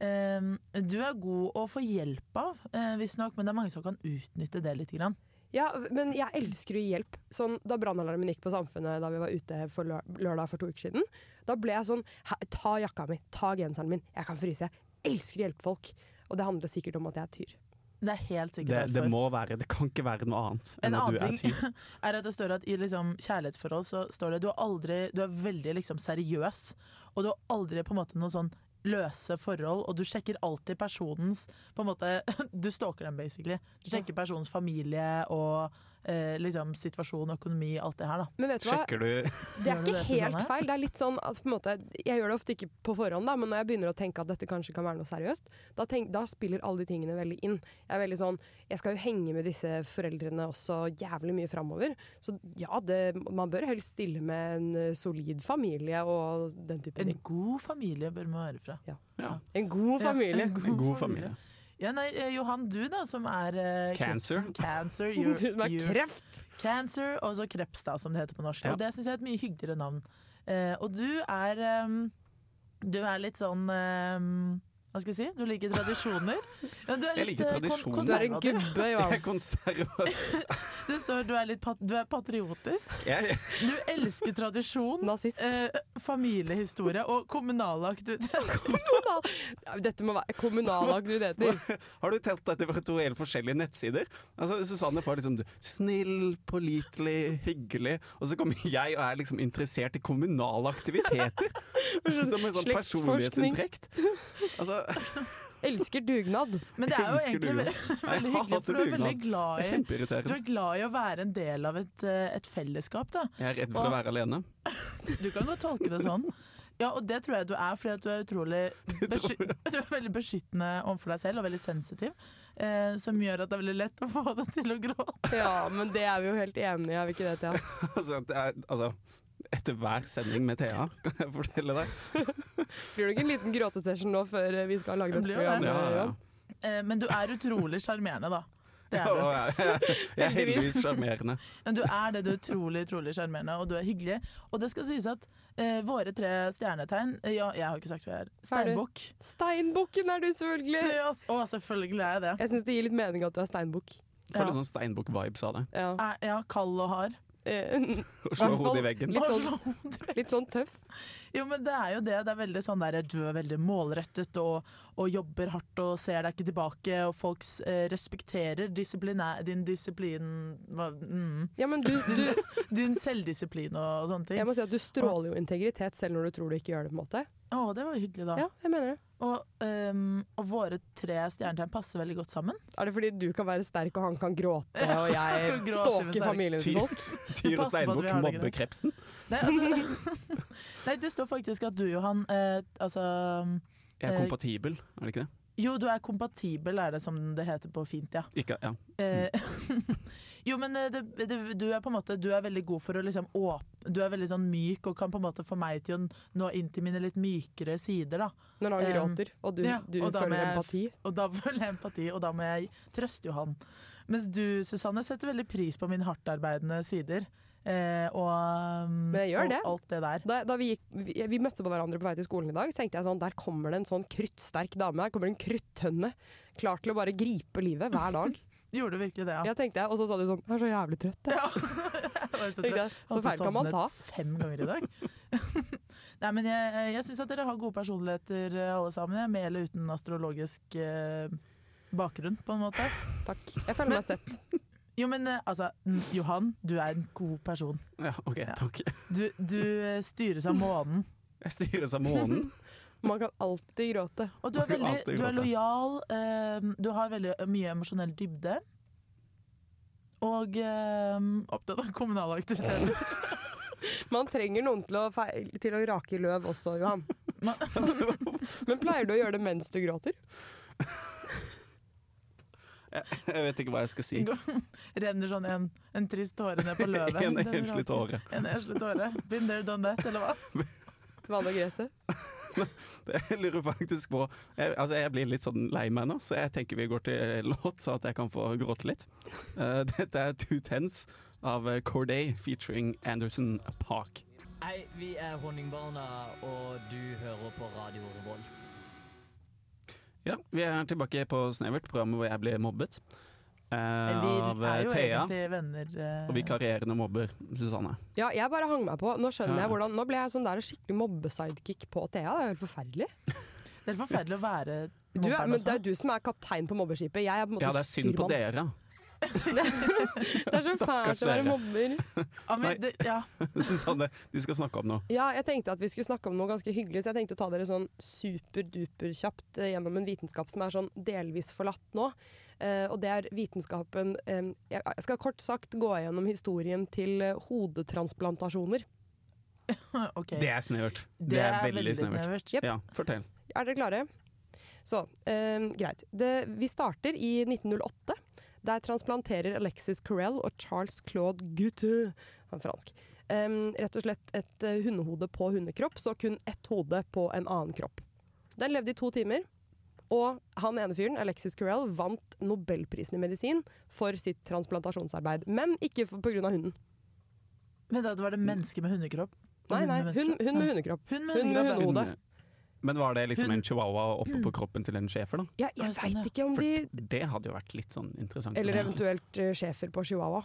eh, du er god å få hjelp av, eh, visstnok, men det er mange som kan utnytte det litt. Grann. Ja, men jeg elsker å gi hjelp. Sånn, da brannalarmen gikk på Samfunnet da vi var ute for lø lørdag for to uker siden, da ble jeg sånn "Hæ, Ta jakka mi, ta genseren min, jeg kan fryse. Jeg elsker å hjelpe folk. Og det handler sikkert om at jeg er tyr. Det er helt sikkert Det, det derfor. må være Det kan ikke være noe annet En enn at du annen er ting- tyv. er at det står at i liksom kjærlighetsforhold så står det du er aldri, du er veldig liksom seriøs, og du har aldri på en måte noen sånn løse forhold, og du sjekker alltid personens på en måte, Du stalker dem, basically. Du sjekker personens familie og eh, liksom situasjon, økonomi, alt det her, da. Men vet du hva? Sjekker du Det Gjør er du ikke det, helt Susanne? feil. Det er litt sånn at på en måte, Jeg gjør det ofte ikke på forhånd, da, men når jeg begynner å tenke at dette kanskje kan være noe seriøst, da, tenk, da spiller alle de tingene veldig inn. Jeg er veldig sånn Jeg skal jo henge med disse foreldrene også jævlig mye framover. Så ja, det, man bør helst stille med en eh, solid familie og den type En ting. god familie bør man være fra. ja, En god Ja, familie. en en god familie? Ja, nei, eh, Johan, du da, som er eh, Cancer. krepsen- Cancer, Du you're, som er you're kreft! Cancer, og så kreps, da, som det heter på norsk. Ja. Og det syns jeg er et mye hyggeligere navn. Eh, og du er ehm, Du er litt sånn ehm, Hva skal jeg si? Du liker tradisjoner. Ja, du er Jeg liker eh, kon- tradisjoner. Du er en konservativ. gubbe, Jeg er Johan. konservativ. Det står du er litt pat du er patriotisk. Jeg, Du elsker tradisjon. Nazist. eh, familiehistorie og kommunale aktiviteter. Dette må være kommunale aktiviteter. har du telt dette fra to helt forskjellige nettsider? Altså, Susanne får liksom snill, pålitelig, hyggelig, og så kommer jeg og er liksom interessert i kommunale aktiviteter! Som en sånn Slektsforskning. personlighetsinntekt. Altså, Elsker dugnad. Men det er jo Elsker egentlig dugnad. veldig, Nei, jeg veldig hyggelig, hater for du er dugnad. veldig det glad er i du kjempeirriterende. er glad i å være en del av et, eh, et fellesskap, da. Jeg er redd for å være alene. Du kan godt tolke det sånn. Ja, og det tror jeg du er, fordi at du er utrolig besky tror jeg. du er veldig beskyttende overfor deg selv, og veldig sensitiv. Eh, som gjør at det er veldig lett å få deg til å gråte. Ja, men det er vi jo helt enige i, er vi ikke det, Thea? Altså, det er, altså, etter hver sending med Thea, kan jeg fortelle deg. Blir det ikke en liten gråtesession nå før eh, vi skal lage Det dette blir jo det. programmet? Ja, ja. Johan? Eh, men du er utrolig sjarmerende, da. Det er du. Ja, jeg, jeg er heldigvis sjarmerende. Men du er det, du er utrolig utrolig sjarmerende, og du er hyggelig. Og det skal sies at eh, våre tre stjernetegn eh, Ja, jeg har ikke sagt hva jeg er. Hva er du? Eh. Steinbukk. Steinbukken er du, selvfølgelig! Ja, s- å, selvfølgelig er jeg det. Jeg syns det gir litt mening at du er steinbukk. Får litt Ja. sånn steinbukk-vibes av det. Ja. Er, ja, kald og hard. Eh, Å slå Hvertfall hodet i veggen. Litt Å, sånn, slå hodet litt sånn tøff. Jo, men det er jo det. Det er veldig sånn der, Du er veldig målrettet og, og jobber hardt og ser deg ikke tilbake. Og folk eh, respekterer disiplinæ- din disiplin hva, mm, Ja, men du, du Din selvdisiplin og, og sånne Jeg ting. må si at du stråler jo integritet selv når du tror du ikke gjør det, på en måte. Å, det var hyggelig, da. Ja, jeg mener det. Og, ehm, og våre tre stjernetegn passer veldig godt sammen. Er det fordi du kan være sterk og han kan gråte, og jeg kan gråte med stalker sterk. familien til Ty- folk? Tyr og Pass på at vi steinbukk har det mobber greit. krepsen. Nei, altså, nei, det står faktisk at du, Johan eh, Altså Jeg er Eh, kompatibel, er det ikke det? Jo, du er kompatibel, er det som det heter på fint, ja. Ikke, ja. Mm. Eh, jo, men eh, det, det, du er på en måte Du er veldig god for å liksom åpne Du er veldig sånn myk og kan på en måte få meg til å nå inn til mine litt mykere sider, da. Når han Eh, gråter, og du, ja, du og da må føler jeg- empati. Og da føler jeg empati, og da må jeg trøste Johan. Mens du, Susanne, setter veldig pris på mine hardtarbeidende sider. Eh, og, um, Men jeg gjør og det. alt det der. Da, da vi, gikk, vi, vi møtte på hverandre på vei til skolen i dag, så tenkte jeg sånn Der kommer det en sånn kruttsterk dame. Her kommer det en kruttønne. Klar til å bare gripe livet hver dag. Gjorde du virkelig det, ja? Jeg tenkte, Og så sa de sånn Jeg er så jævlig trøtt. Jeg. Ja. Jeg var så Tenkte trøtt. jeg, Så feil kan man ta. Fem ganger i dag. Nei, men jeg, jeg syns at dere har gode personligheter eh, alle sammen. Jeg, med eller uten astrologisk eh, bakgrunn, på en måte. Takk. Jeg føler meg sett. Jo, men eh, altså, n- Johan, du er en god person. Ja, OK, Ja. takk. Du, du eh, styres av månen. Jeg styres av månen. Man kan alltid gråte. Og du er, Alltid veldig, du godt, er ja. lojal. eh, du har veldig mye emosjonell dybde. Og eh, opptatt av kommunale aktiviteter. Man trenger noen til å, feil, til å rake i løv også, Johan. Men pleier du å gjøre det mens du gråter? Jeg vet ikke hva jeg skal si. Renner sånn en, en trist tåre ned på løvet. En Den enslig raker. tåre. En enslig tåre. Been there, done that, eller hva? Vanne gresset? Det jeg lurer faktisk på jeg, altså jeg blir litt sånn lei meg nå, så jeg tenker vi går til låt, så at jeg kan få gråte litt. Eh, dette er Two Tens av eh, Corday featuring Anderson Park. Hei, vi er Honningbarna, og du hører på Radio Revolt. Ja, vi er tilbake på Snevert, programmet hvor jeg ble mobbet. eh, Vi av eh, er jo Thea egentlig venner. eh, og vikarierende mobber Susanne. Ja, jeg bare hang meg på. Nå skjønner Ja. jeg hvordan Nå ble jeg sånn der skikkelig mobbesidekick på Thea. Det er jo helt forferdelig. Det er forferdelig å være Du er, mobberen men det også. er jo du som er kaptein på mobbeskipet. Jeg er på en måte Ja, det er synd på styrmann. dere. Det er så fælt å være dere. mobber. Ja, men Nei. det, ja. Susanne, du skal snakke om noe. Ja, jeg tenkte at vi skulle snakke om noe ganske hyggelig, så jeg tenkte å ta dere sånn superduper kjapt eh, gjennom en vitenskap som er sånn delvis forlatt nå. Eh, og det er vitenskapen eh, Jeg jeg skal kort sagt gå gjennom historien til eh, hodetransplantasjoner. OK. Det er snevert. Det er veldig snevert. Jep. Ja, fortell. Er dere klare? Så, eh, greit. Det, vi starter i 1908. Der transplanterer Alexis Carell og Charles Claude Gutteux Han er fransk. eh, rett og slett et eh, hundehode på hundekropp, så kun ett hode på en annen kropp. Den levde i to timer, og han ene fyren, Alexis Carell, vant Nobelprisen i medisin for sitt transplantasjonsarbeid. Men ikke pga. hunden. Men da var det menneske med hundekropp? Nei, nei, med hun, hun med hundekropp. Hun med Hun med hundekropp. hundehode. Men var det liksom Hun- Mm. en chihuahua oppå på kroppen til en schæfer, da? Ja, Ja, jeg sånn, ja. veit ikke om For de det hadde jo vært litt sånn interessant. å Eller se. eventuelt eh, schæfer på chihuahua.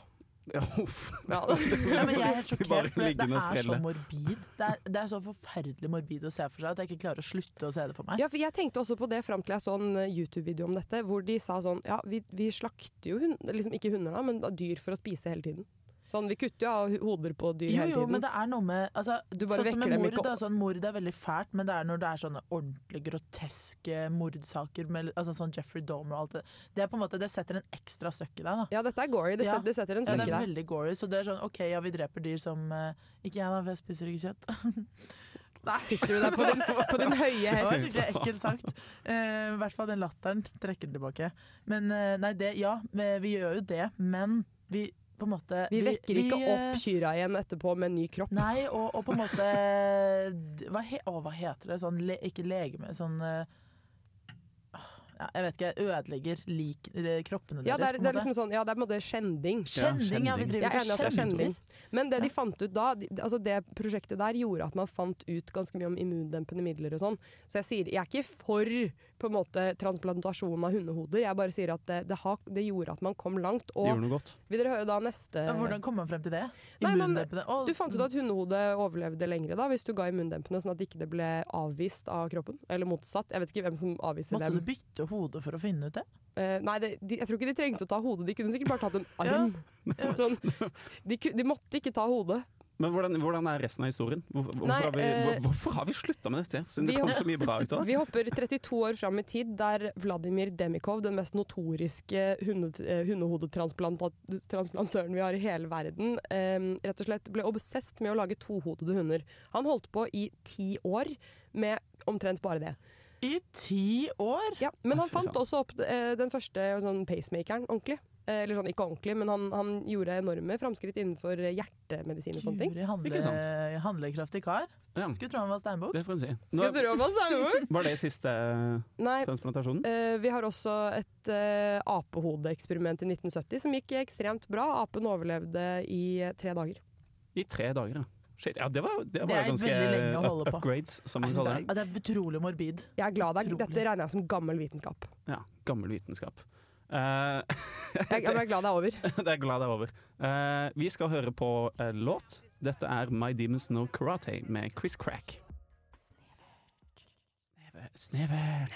Ja, uff. Ja, Ja, men jeg er Bare sjokkert, for det liggende og er sånn- så sprelle. morbid. Det er, det er så forferdelig morbid å se for seg at jeg ikke klarer å slutte å se det for meg. Ja, for jeg tenkte også på det fram til jeg så en eh, YouTube-video om dette, hvor de sa sånn Ja, vi, vi slakter jo hund, liksom ikke hunder, da, men da dyr for å spise hele tiden. Sånn, vi kutter jo av hu- hoder på dyr Jo, hele jo, tiden. men det er noe med altså, Du bare Sånn som vekker med dem mord, ikke da, opp. sånn mord er veldig fælt, men det er når det er sånne ordentlig groteske mordsaker, med, altså sånn Jeffrey Dahmer og alt det Det er på en måte, det setter en ekstra støkk i deg, da. Ja, dette er gory. Det, Ja. set- det setter en Ja, det støkk i er deg. veldig gory. Så det er sånn OK, ja, vi dreper dyr som eh, Ikke jeg, da, for jeg spiser ikke kjøtt. Sitter du der på din, på din høye Det var hest? Oi. skikkelig ekkelt sagt. Eh, I hvert fall den latteren trekker den tilbake. Men eh, nei, det Ja, vi vi gjør jo det, men vi på en måte Vi vekker ikke eh, opp kyrne igjen etterpå med en ny kropp. Nei, og, og på en måte d- hva, he, å, hva heter det? Sånn le, ikke legeme, sånn eh, ja, Jeg vet ikke. Ødelegger lik, eh, kroppene Ja, det er, deres, på en det er måte. liksom sånn Ja, det er på en måte skjending. Skjending, ja. Vi skjending. Jeg driver er ikke enig i at det er skjending. skjending. Men det de fant ut da, de, altså det prosjektet der gjorde at man fant ut ganske mye om immundempende midler og sånn. Så jeg sier, jeg er ikke for på en måte transplantasjon av hundehoder, jeg bare sier at det, det, har, det gjorde at man kom langt. De Og gjorde noe godt. vil dere høre da neste Ja, Hvordan kom man frem til det? Nei, men Immundempende- Å, Du fant ut at hundehodet overlevde lengre da, hvis du ga immundempende, sånn at ikke det ble avvist av kroppen. Eller motsatt. Jeg vet ikke hvem som avviser Måtte dem. du bytte hode for å finne ut det? Eh, nei, det, de, jeg tror ikke de trengte å ta hodet. De kunne sikkert bare tatt en arm. Sånn, de, ku- de måtte ikke ta hodet. Men hvordan, hvordan er resten av historien? Hvor, hvorfor, Nei, har vi, eh, hvor, hvorfor har vi slutta med dette? Siden vi det kom har- så mye bra ut av det. Vi hopper 32 år fram i tid, der Vladimir Demikov, den mest notoriske hunde, eh, hundehodetransplantøren vi har i hele verden, eh, rett og slett ble obsesst med å lage tohodede hunder. Han holdt på i ti år med omtrent bare det. I ti år? Ja, men han Fy faen. fant også opp eh, den første sånn pacemakeren ordentlig. Eh, eller sånn, ikke ordentlig, men han, han gjorde enorme framskritt innenfor eh, hjertemedisin og sånne ting. Guri, handle, Ikke sant? handlekraftig kar. Ja, Skulle tro han var steinbukk. det får en si. Skal Nå, du rå meg sammen? var det siste eh, Nei, transplantasjonen? Eh, vi har også et eh, apehodeeksperiment i 1970 som gikk ekstremt bra. Apen overlevde i eh, tre dager. I tre dager, ja. Shit, ja, det var, det var Det er ganske veldig lenge å holde up på. upgrades, som man Jeg synes kaller det det. Ja, det er utrolig morbid. Jeg er glad det er, Utrolig. Dette regner jeg som gammel vitenskap. Ja, gammel vitenskap. Eh, Jeg, jeg er glad det er over. det er glad det er over. Eh, vi skal høre på eh, låt. Dette er My Demons Know Karate med Chris Crack. Snevert. Snevert.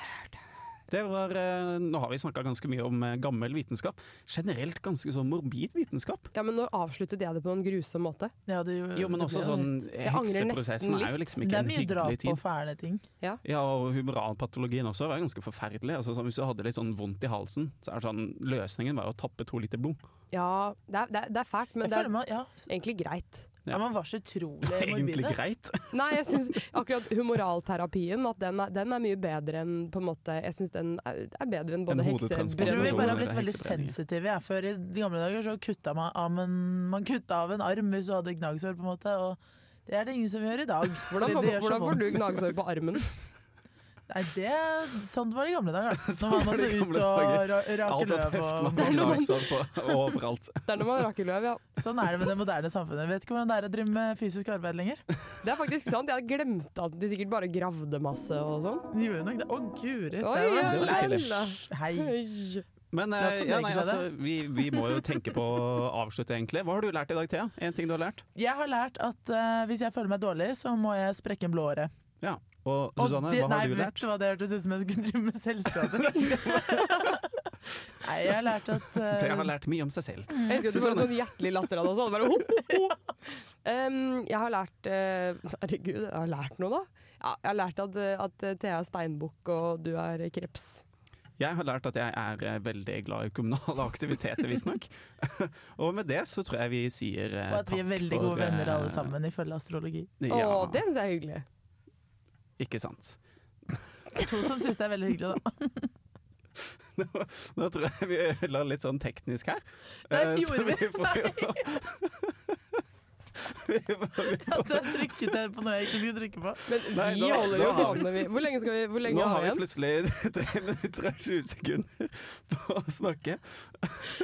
Det var, eh, nå har vi snakka ganske mye om eh, gammel vitenskap. Generelt ganske sånn morbid vitenskap. Ja, men nå avsluttet jeg det på en grusom måte. Ja, det, gjorde- Jo, men det også ble sånn litt- Eh, Jeg angrer Hekseprosessen nesten er jo litt. liksom Det ikke er en mye hyggelig drap og tid. fæle ting. Ja. Ja, og humoralpatologien også var jo ganske forferdelig. Altså, sånn, hvis du hadde litt sånn vondt i halsen, så er det sånn, løsningen var jo å tappe to liter blod. Ja, det er, det er, det er fælt, men Jeg det føler er man, ja, egentlig greit. Ja. ja, man var så utrolig Egentlig morbide. greit. Nei, jeg syns akkurat humoralterapien at den er, den er mye bedre enn på en måte Jeg syns den er, er bedre enn både En hodetransplantasjon. Jeg tror vi heksebrenning bare har Eller blitt veldig heksebrenning. sensitive. Jeg. Før i de gamle dager så kutta man av, en- man kutta av en arm hvis du hadde gnagsår, på en måte. Og det er det ingen som gjør i dag. Hvordan, fordi får- det gjør så hvordan får du vondt. gnagsår på armen? Nei, det, sånn var det i gamle dager, da. Så var var man så det i ut gamle og dager. ra rake Alt var løv tøft, man var og Det er noe man- gnagsår på overalt. Det er når man raker løv, ja. Sånn er det med det moderne samfunnet. Vet ikke hvordan det er å drive med fysisk arbeid lenger. Det er faktisk sant. Jeg glemte at de sikkert bare gravde masse og sånn. De gjorde nok det. Å, guri. det Oi, var- ja, Det var litt tidlig. lella. Hei. Oi. Men eh, Lat som det ja, ikke nei, skjedde. altså, vi, vi må jo tenke på å avslutte, egentlig. Hva har du lært i dag, Thea? En ting du har lært? Jeg har lært at eh, hvis jeg føler meg dårlig, så må jeg sprekke en blååre. Ja. Og Og Susanne, det- hva nei, har du vet lært? du hva det hørtes ut som jeg skulle drive med selvskade? nei, jeg har lært at eh, Thea har lært mye om seg selv. Jeg husker at du var en sånn hjertelig latter av det også. og det Bare, ho, ho, ho. Um, jeg har lært eh, Herregud, jeg har lært noe, da. Ja, jeg har lært at, eh, at eh, Thea er steinbukk og du er kreps. Jeg har lært at jeg er eh, veldig glad i kommunale aktiviteter, visstnok. og med det så tror jeg vi sier eh, og at vi er takk veldig for, gode venner eh, alle sammen, ifølge astrologi. Ja, Å, det syns jeg er hyggelig. Ikke sant. To som syns det er veldig hyggelig, da. Nå tror jeg vi la litt sånn teknisk her. Nei, Eh, gjorde vi? får jo- Vi får- vi At jeg trykket jeg på noe jeg ikke skulle trykke på. Men Nei, vi da- holder da jo har vi- vanene, vi. Hvor lenge, skal vi, hvor Nå lenge har har vi vi igjen? plutselig 3 minutter og 20 sekunder på å snakke.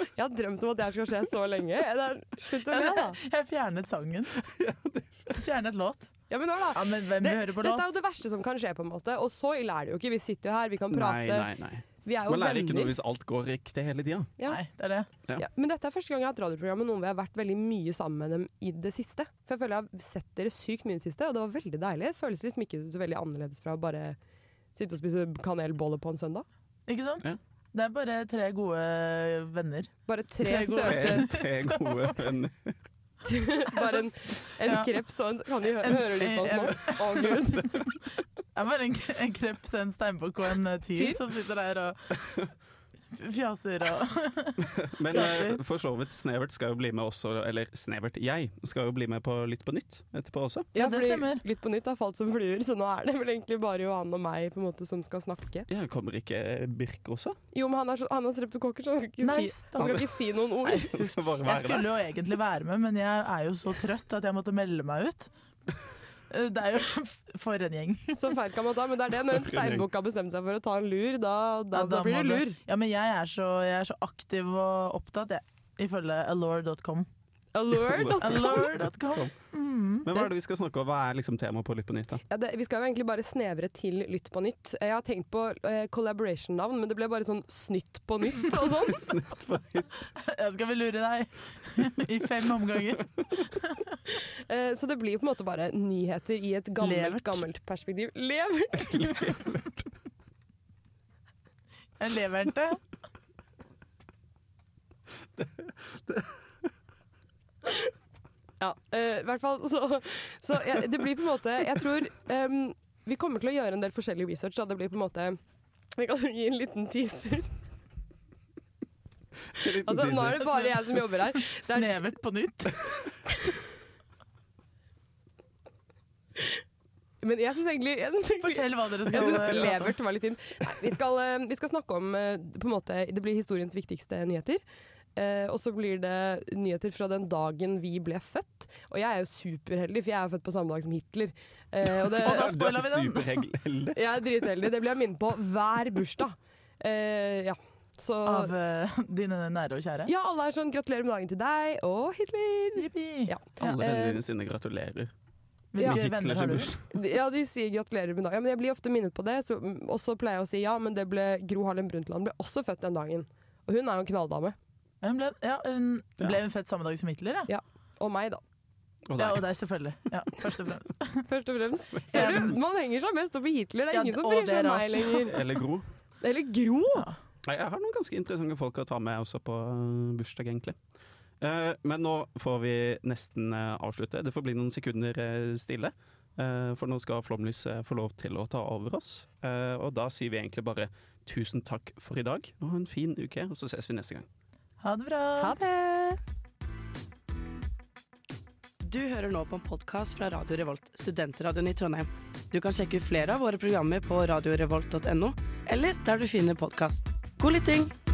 Jeg har drømt om at det her skal skje så lenge. Det er, slutt å le, da. Jeg, jeg fjernet sangen. Fjernet låt. Ja, men nå da. Ja, men hvem Det, vil høre på dette er låt? jo det verste som kan skje, på en måte. Og så ille er det jo ikke. Vi sitter jo her, vi kan Nei, prate. nei, nei. Vi er jo Man lærer ikke noe venner. hvis alt går riktig hele tida. ja. Nei, det er det. Ja, men dette er første gang jeg har hatt radioprogram med noen hvor jeg har vært veldig mye sammen med dem i det siste. For jeg føler jeg har sett dere sykt mye i det siste, og det var veldig deilig. Det føles liksom ikke så veldig annerledes fra å bare sitte og spise kanelboller på en søndag. Ikke sant? Ja. Det er bare tre gode venner. Bare tre Tre gode- søte Tre gode venner. Bare en, en Ja. kreps og en Kan de hø En- høre litt på oss nå? Å gud. Det er bare en, en kreps, en steinbukk og en eh, tyr Tyr? som sitter der og f- fjaser og Men eh, for så vidt, Snevert skal jo bli med også, eller Snevert, jeg, skal jo bli med på Litt på nytt etterpå også. Ja, det fordi stemmer. Litt på nytt har falt som fluer, så nå er det vel egentlig bare Johan og meg på en måte som skal snakke. Ja, kommer ikke Birk også? Jo, men han er, så, han er streptokokker, så han skal, ikke Nei, si, han skal ikke si noen ord. Han skal bare Jeg være der. skulle jo egentlig være med, men jeg er jo så trøtt at jeg måtte melde meg ut. Eh, Det er jo for en gjeng. Så feil kan man ta, men det er det. Når en steinbukk har bestemt seg for å ta en lur, da, da, Ja, da blir må det lur. Ja, men jeg er så, jeg er så aktiv og opptatt, jeg. Ifølge allure.com. Alert! Allure.com. Men hva er det vi skal snakke om? Hva er liksom temaet på Litt på nytt? da? Mm. Ja, det, vi skal jo egentlig bare snevre til Lytt på nytt. Jeg har tenkt på eh, collaboration-navn, men det ble bare sånn Snytt på nytt og sånn. Jeg skal vel lure deg i fem omganger. Eh, så det blir jo på en måte bare nyheter i et gammelt, Levert. gammelt perspektiv. Levert! Jeg lever ikke. Ja, eh, i hvert fall så, så jeg- det blir på en måte Jeg tror em, vi kommer til å gjøre en del forskjellig research, da. Det blir på en måte Vi kan gi en liten teaser. Altså, nå er det bare jeg som jobber her. Det er, Snevert på nytt. men jeg syns egentlig, jeg synes egentlig Fortell hva dere Jeg skal synes levert var litt inn. Nei, vi, skal, eh, vi skal snakke om eh, på en måte, Det blir historiens viktigste nyheter. Eh, og så blir det nyheter fra den dagen vi ble født. Og jeg er jo superheldig, for jeg er født på samme dag som Hitler. Eh, og det, Og da spoiler vi den. superheldig. jeg er dritheldig. Det blir jeg minnet på hver bursdag. Eh, ja. Så Av eh, dine nære og kjære. ja, alle er sånn 'gratulerer med dagen til deg' og Hitler. Jippi. Ja. Alle Eh, vennene dine sine gratulerer. Ja. Hvilke venner har du? Ja, de sier gratulerer med dagen. Ja, men jeg blir ofte minnet på det. så- Og så pleier jeg å si ja, men det ble Gro Harlem Brundtland ble også født den dagen. Og hun er jo en knalldame. Hun ble, ja, hun ble hun født samme dag som Hitler, ja. Og meg, da. Og Ja, deg. og deg, selvfølgelig. Ja, først og fremst. Først og fremst. Ser du, man henger seg mest opp i Hitler. Det Ja, er ingen som og bryr det seg er om meg rart. lenger. Eller Gro. Eller Gro. Nei, jeg har noen ganske interessante folk å ta med også på øh, bursdag, egentlig. Eh, men nå får vi nesten eh, avslutte. Det får bli noen sekunder eh, stille. eh, for nå skal Flomlys eh, få lov til å ta over oss. Eh, og da sier vi egentlig bare tusen takk for i dag, og ha en fin uke, og så ses vi neste gang. Ha det bra. Ha det. Du hører nå på en podkast fra Radio Revolt, studentradioen i Trondheim. Du kan sjekke ut flere av våre programmer på radiorevolt.no, eller der du finner podkast. God lytting!